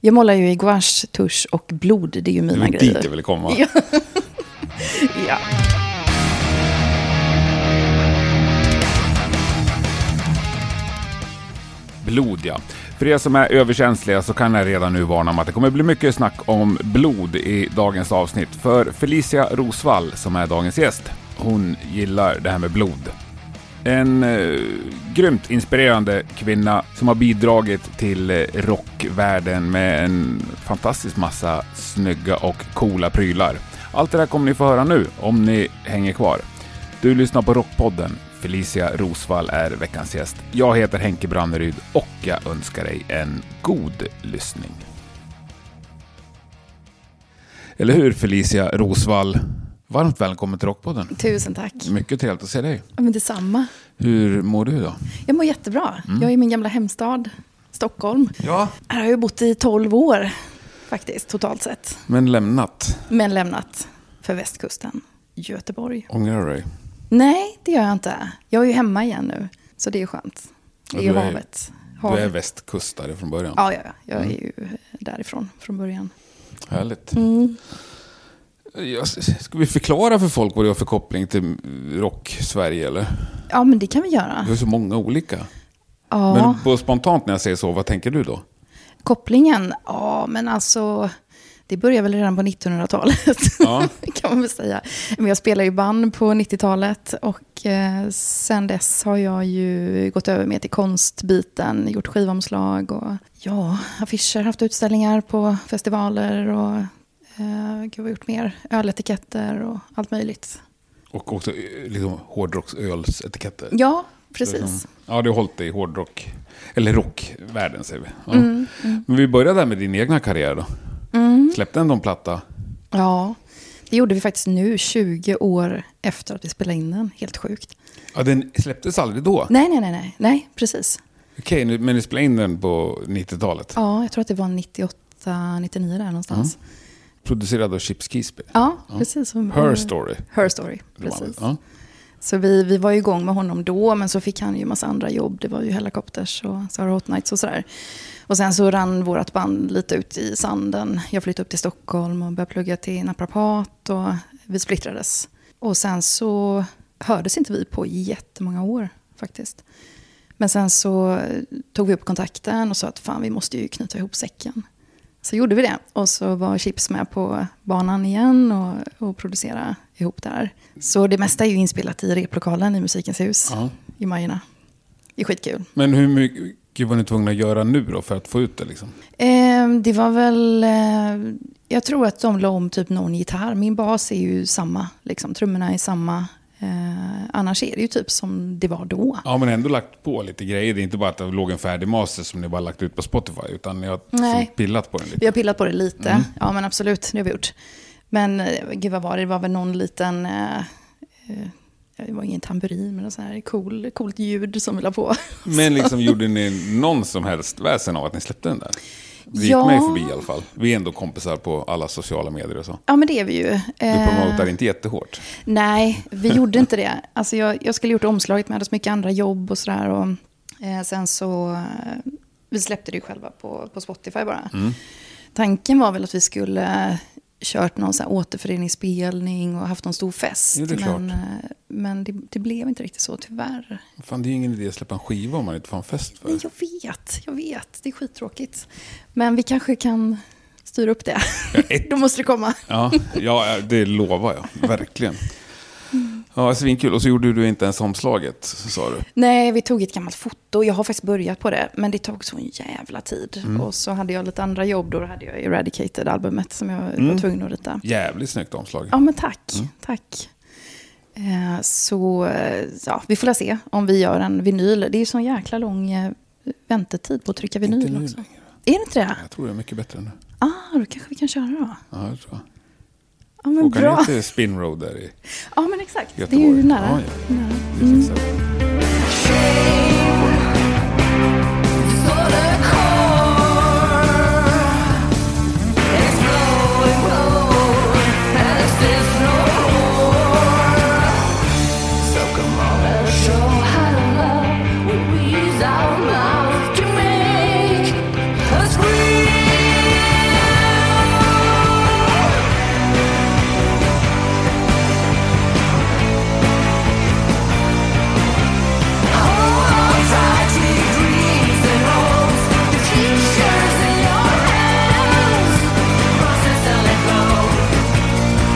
Jag målar ju i gouache, tusch och blod. Det är ju mina Det var grejer. Mm, dit jag ville komma. Ja. ja. Blod ja. För er som är överkänsliga så kan jag redan nu varna om att det kommer bli mycket snack om blod i dagens avsnitt. För Felicia Rosvall, som är dagens gäst, hon gillar det här med blod. En eh, grymt inspirerande kvinna som har bidragit till eh, rockvärlden med en fantastisk massa snygga och coola prylar. Allt det där kommer ni få höra nu om ni hänger kvar. Du lyssnar på Rockpodden. Felicia Rosvall är veckans gäst. Jag heter Henke Branneryd och jag önskar dig en god lyssning. Eller hur Felicia Rosvall? Varmt välkommen till Rockpodden. Tusen tack. Mycket trevligt att se dig. Ja, Men detsamma. Hur mår du då? Jag mår jättebra. Mm. Jag är i min gamla hemstad, Stockholm. Ja. Här har jag ju bott i 12 år, faktiskt, totalt sett. Men lämnat. Men lämnat för västkusten, Göteborg. Ångrar du dig? Nej, det gör jag inte. Jag är ju hemma igen nu, så det är skönt. Det Ja, är du ju är- havet. Du havet. är Mm. västkustare från början. Ja, ja, ja. jag är ju därifrån från början. Härligt. Ja, s- Ska vi förklara för folk vad du har för koppling till mm, rock-Sverige eller? Ja, men det kan vi göra. Du har så många olika. Ja. Men på spontant när jag säger så, vad tänker du då? Kopplingen? Ja, men alltså... Det börjar väl redan på 1900-talet, Ja. kan man väl säga. Men jag spelar ju band på 90-talet och eh, sen dess har jag ju gått över mer till konstbiten, gjort skivomslag och ja, affischer, haft utställningar på festivaler och eh, gud, vad har jag gjort mer? Öletiketter och allt möjligt. Och också eh, liksom, hårdrocksölsetiketter. Ja, Det är precis. som- Ja, du har hållit dig i hårdrock. Eller rockvärlden säger vi. Ja. Mm. Men vi börjar där med din egna karriär då. Släppte en de platta? Mm. Ja, det gjorde vi faktiskt nu, 20 år efter att vi spelade in den. Helt sjukt. Ja, den släpptes aldrig då? Nej, nej, nej, nej, nej precis. Okej, nu- men ni spelade in den på 90-talet? Ja, jag tror att det var 98, 99 där någonstans. Producerad av Chips Keesby? Ja, precis. Her Story? Her Story, Bandet. precis. Ja. Så vi, vi var ju igång med honom då, men så fick han ju massa andra jobb. Det var ju Hellacopters och Sarah Hot Nights och sådär. Och sen så rann vårt band lite ut i sanden. Jag flyttade upp till Stockholm och började plugga till naprapat och vi splittrades. Och sen så hördes inte vi på jättemånga år faktiskt. Men sen så eh, tog vi upp kontakten och sa att fan vi måste ju knyta ihop säcken. Så gjorde vi det och så var Chips med på banan igen och, och producera ihop det här. Så det mesta är ju inspelat i replokalen i Musikens hus Ja. i Majorna. Det är skitkul. Men hur mycket var ni tvungna att göra nu då för att få ut det? Liksom? Eh, det var väl... Eh, jag tror att de la om typ någon gitarr. Min bas är ju samma. Liksom, trummorna är samma. Eh, annars är det ju typ som det var då. Ja, men ändå lagt på lite grejer. Det är inte bara att det låg en färdig master som ni bara lagt ut på Spotify, utan ni har Nej. liksom pillat på den lite. Vi har pillat på det lite. Ja, men absolut. Det har vi gjort. Men eh, gud, vad var det? Det var väl någon liten... Eh, eh, det var ingen tamburin, men något sånt här cool, coolt ljud som vi la på. Men liksom, gjorde ni någon som helst väsen av att ni släppte den där? Det gick Ja. mig förbi i alla fall. Vi är ändå kompisar på alla sociala medier och så. Ja, men det är vi ju. Du Eh, promotar inte jättehårt. Nej, vi gjorde inte det. Alltså jag, jag skulle gjort omslaget, men jag hade så mycket andra jobb och sådär. Och, eh, sen så, eh, Mm. vi släppte det ju själva på, på Spotify bara. Tanken var väl att vi skulle eh, kört någon sån här återföreningsspelning och haft någon stor fest. Jo, det är klart. men eh, men det, det blev inte riktigt så, tyvärr. Fan, det är ju ingen idé att släppa en skiva om man inte får en fest för. Nej, jag vet, jag vet. Det är skittråkigt. Men vi kanske kan styra upp det. ett- Då måste det komma. Ja, ja, det lovar jag. Verkligen. Ja, svinkul. Och så gjorde du inte ens omslaget, sa du. Nej, vi tog ett gammalt foto. Jag har faktiskt börjat på det, men det tog sån jävla tid. Mm. Och så hade jag lite andra jobb då. Då hade jag Eradicated-albumet som jag Mm. var tvungen att rita. Jävligt snyggt omslag. Ja, men tack. Mm. Tack. Eh, Så eh, ja, vi får väl se om vi gör en vinyl. Det är ju sån jäkla lång eh, väntetid på att trycka vinyl Inte nu också. längre. Är det inte det? Jag tror det är mycket bättre nu. Ah, då kanske vi kan köra då. Ja, jag tror Ja, men jag. Åka bra. ner till Spin Road där i Ja, men exakt. Göteborg. Det är ju nära. Mm. Ja, ja. Det finns en- Pictures in your hands, process and let go.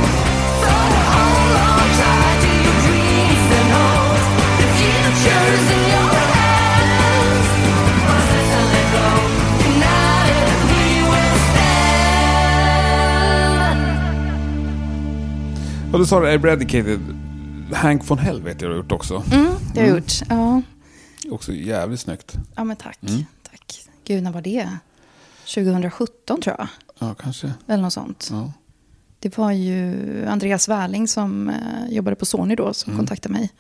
Och du sa du Eradicated. Hank von Hell vet jag du har gjort också. Mm, det har jag gjort. Ja, Också jävligt snyggt. ja men tack. Mm. tack. Gud, när var det? 2017 tror jag. Ja, kanske. Eller något sånt. Ja. Det var ju Andreas Wärling som eh, jobbade på Sony då som kontaktade mig.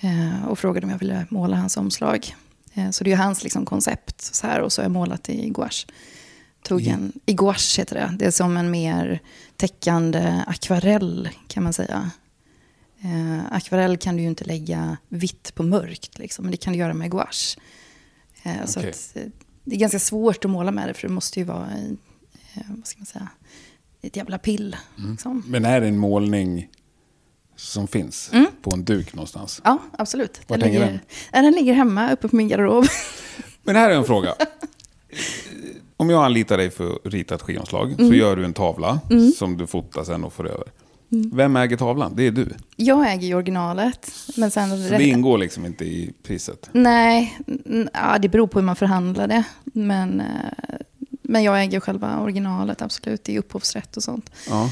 Eh, och frågade om jag ville måla hans omslag. Eh, så det är ju hans liksom, koncept. Så här, och så har jag målat i gouache. Tog en, I gouache heter det. Det är som en mer täckande akvarell kan man säga. Eh, akvarell kan du ju inte lägga vitt på mörkt, liksom, men det kan du göra med gouache. Eh, så Okej. att, eh, det är ganska svårt att måla med det, för det måste ju vara i, eh, vad ska man säga, ett jävla pill. Mm. Liksom. Men är det en målning som finns Mm. på en duk någonstans? Ja, absolut. Vart hänger ligger, den? Ja, den ligger hemma uppe på min garderob. Men här är en fråga. Om jag anlitar dig för att rita ett skivomslag så Mm. gör du en tavla som du fotar sen och får över. Mm. Vem äger tavlan? Det är du. Jag äger ju originalet. Men sen Så det ingår liksom inte i priset. Nej, n- ja, det beror på hur man förhandlar det. Men, eh, men jag äger själva originalet, absolut. Det är upphovsrätt och sånt. Ja.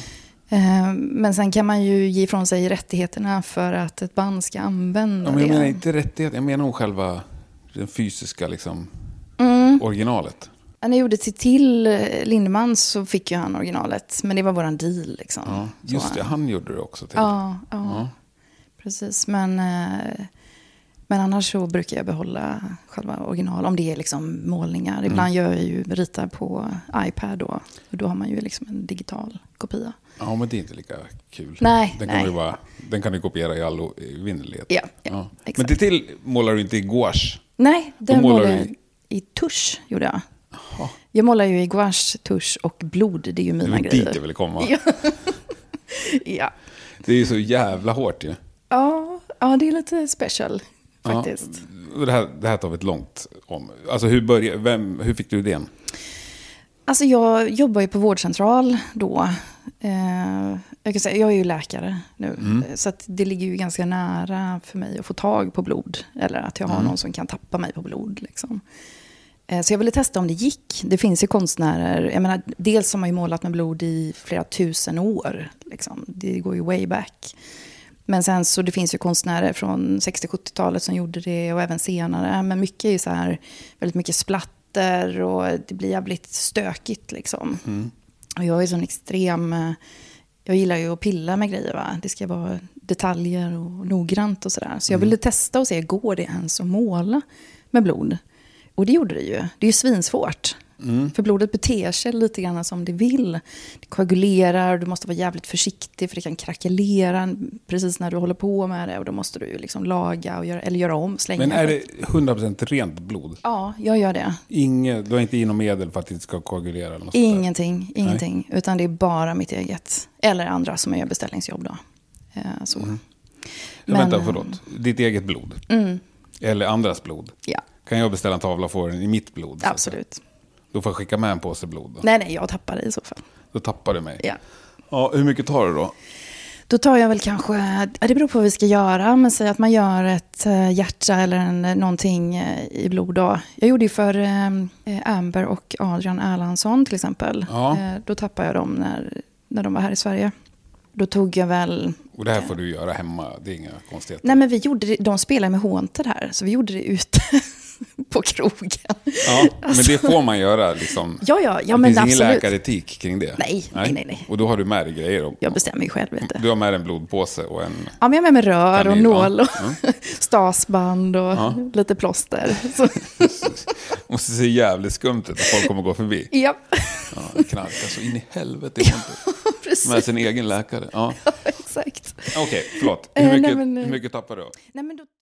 Eh, Men sen kan man ju ge ifrån sig rättigheterna för att ett band ska använda Ja, men jag det. menar inte rättighet, jag menar om själva den fysiska liksom, originalet. Mm. När jag gjorde till, till eh, Lindemann så fick ju han originalet. Men det var våran deal liksom. Ja, Så, just det, han gjorde det också typ. till. Ja, ja, precis. Men, eh, men annars så brukar jag behålla själva original. Om det är liksom målningar. Mm. Ibland gör jag ju ritar på iPad då. Och då har man ju liksom en digital kopia. Ja, men det är inte lika kul. Nej, Mm. den, nej. Kan du bara, den kan du kopiera i all o- evinnerlighet. Ja, ja, Men exakt. det till målar du inte i gouache. Nej, den målar målade du jag i- i tusch. Gjorde jag. jag målar ju i gouache, tusch och blod. Det är ju Mm, Det mina var grejer. dit jag ville komma. Ja. ja. Det är ju så jävla hårt ju. Ja, ja, det är lite special Ja. faktiskt. Och Det, här, det här tar vi ett långt om. Alltså hur, började, vem, hur fick du idén? Alltså jag jobbar ju på vårdcentral då. Eh, jag, kan säga, jag är ju läkare nu, eh, så att det ligger ju ganska nära för mig att få tag på blod. Eller att jag har någon som kan tappa mig på blod. Liksom. Eh, så jag ville testa om det gick. Det finns ju konstnärer, jag menar, dels har man ju målat med blod i flera tusen år. Liksom. Det går ju way back. Men sen så det finns ju konstnärer från 60-70-talet som gjorde det och även senare. Men mycket är ju så här, väldigt mycket splatter och det blir jävligt stökigt liksom. Och jag är sån extrem, eh, jag gillar ju att pilla med grejer va. Det ska vara detaljer och noggrant och sådär. Så jag ville testa och se, går det ens att måla med blod? Och det gjorde det ju. Det är ju svinsvårt. Mm. För blodet beter sig lite grann som det vill. Det koagulerar, du måste vara jävligt försiktig för det kan krackelera precis när du håller på med det. Och då måste du ju liksom laga och göra, eller göra om, slänga. Men är det 100% rent blod? Ja, jag gör det. Inget, du har inte i något medel för att det inte ska koagulera? Eller något sånt där? Ingenting, ingenting. Utan det är bara mitt eget. Eller andra som jag gör beställningsjobb då. Eh, så. Men, Mm. Vänta, eh, förlåt. Ditt eget blod? Mm. Eller andras blod? Ja, Kan jag beställa en tavla och få den i mitt blod? så att säga? absolut. Då får jag skicka med en påse blod? Då, Nej, nej, jag tappar det i så fall. då tappar du mig? Ja. ja. Hur mycket tar du då? Då tar jag väl kanske, ja, det beror på vad vi ska göra, men säg att man gör ett eh, hjärta eller en, någonting eh, i blod. Då. Jag gjorde ju för eh, Amber och Adrian Erlandsson till exempel. Ja. Eh, Då tappade jag dem när, när de var här i Sverige. Då tog jag väl Och det här får du göra hemma, det är inga konstigheter. Nej men vi gjorde det, de spelar med hånter här, så vi gjorde det ute på krogen. Ja, men Alltså, det får man göra liksom. Ja, ja, ja det men finns absolut. ingen läkaretik kring det? Nej, nej, nej, nej. Och då har du med dig grejer? Och, Jag bestämmer ju själv vet du du. har med dig en blodpåse och en... Ja, men jag har med mig rör och Kanin, ja. nål och stasband och Ja. lite plåster. Så, måste se jävligt skumt ut när folk kommer gå förbi. ja, Ja, knarkar så in i helvete. det går inte. Med precis. sin egen läkare. Ja. Exakt. Okej, förlåt. Hur Eh, mycket, nej, men, eh. hur mycket tappar du? Nej, men då...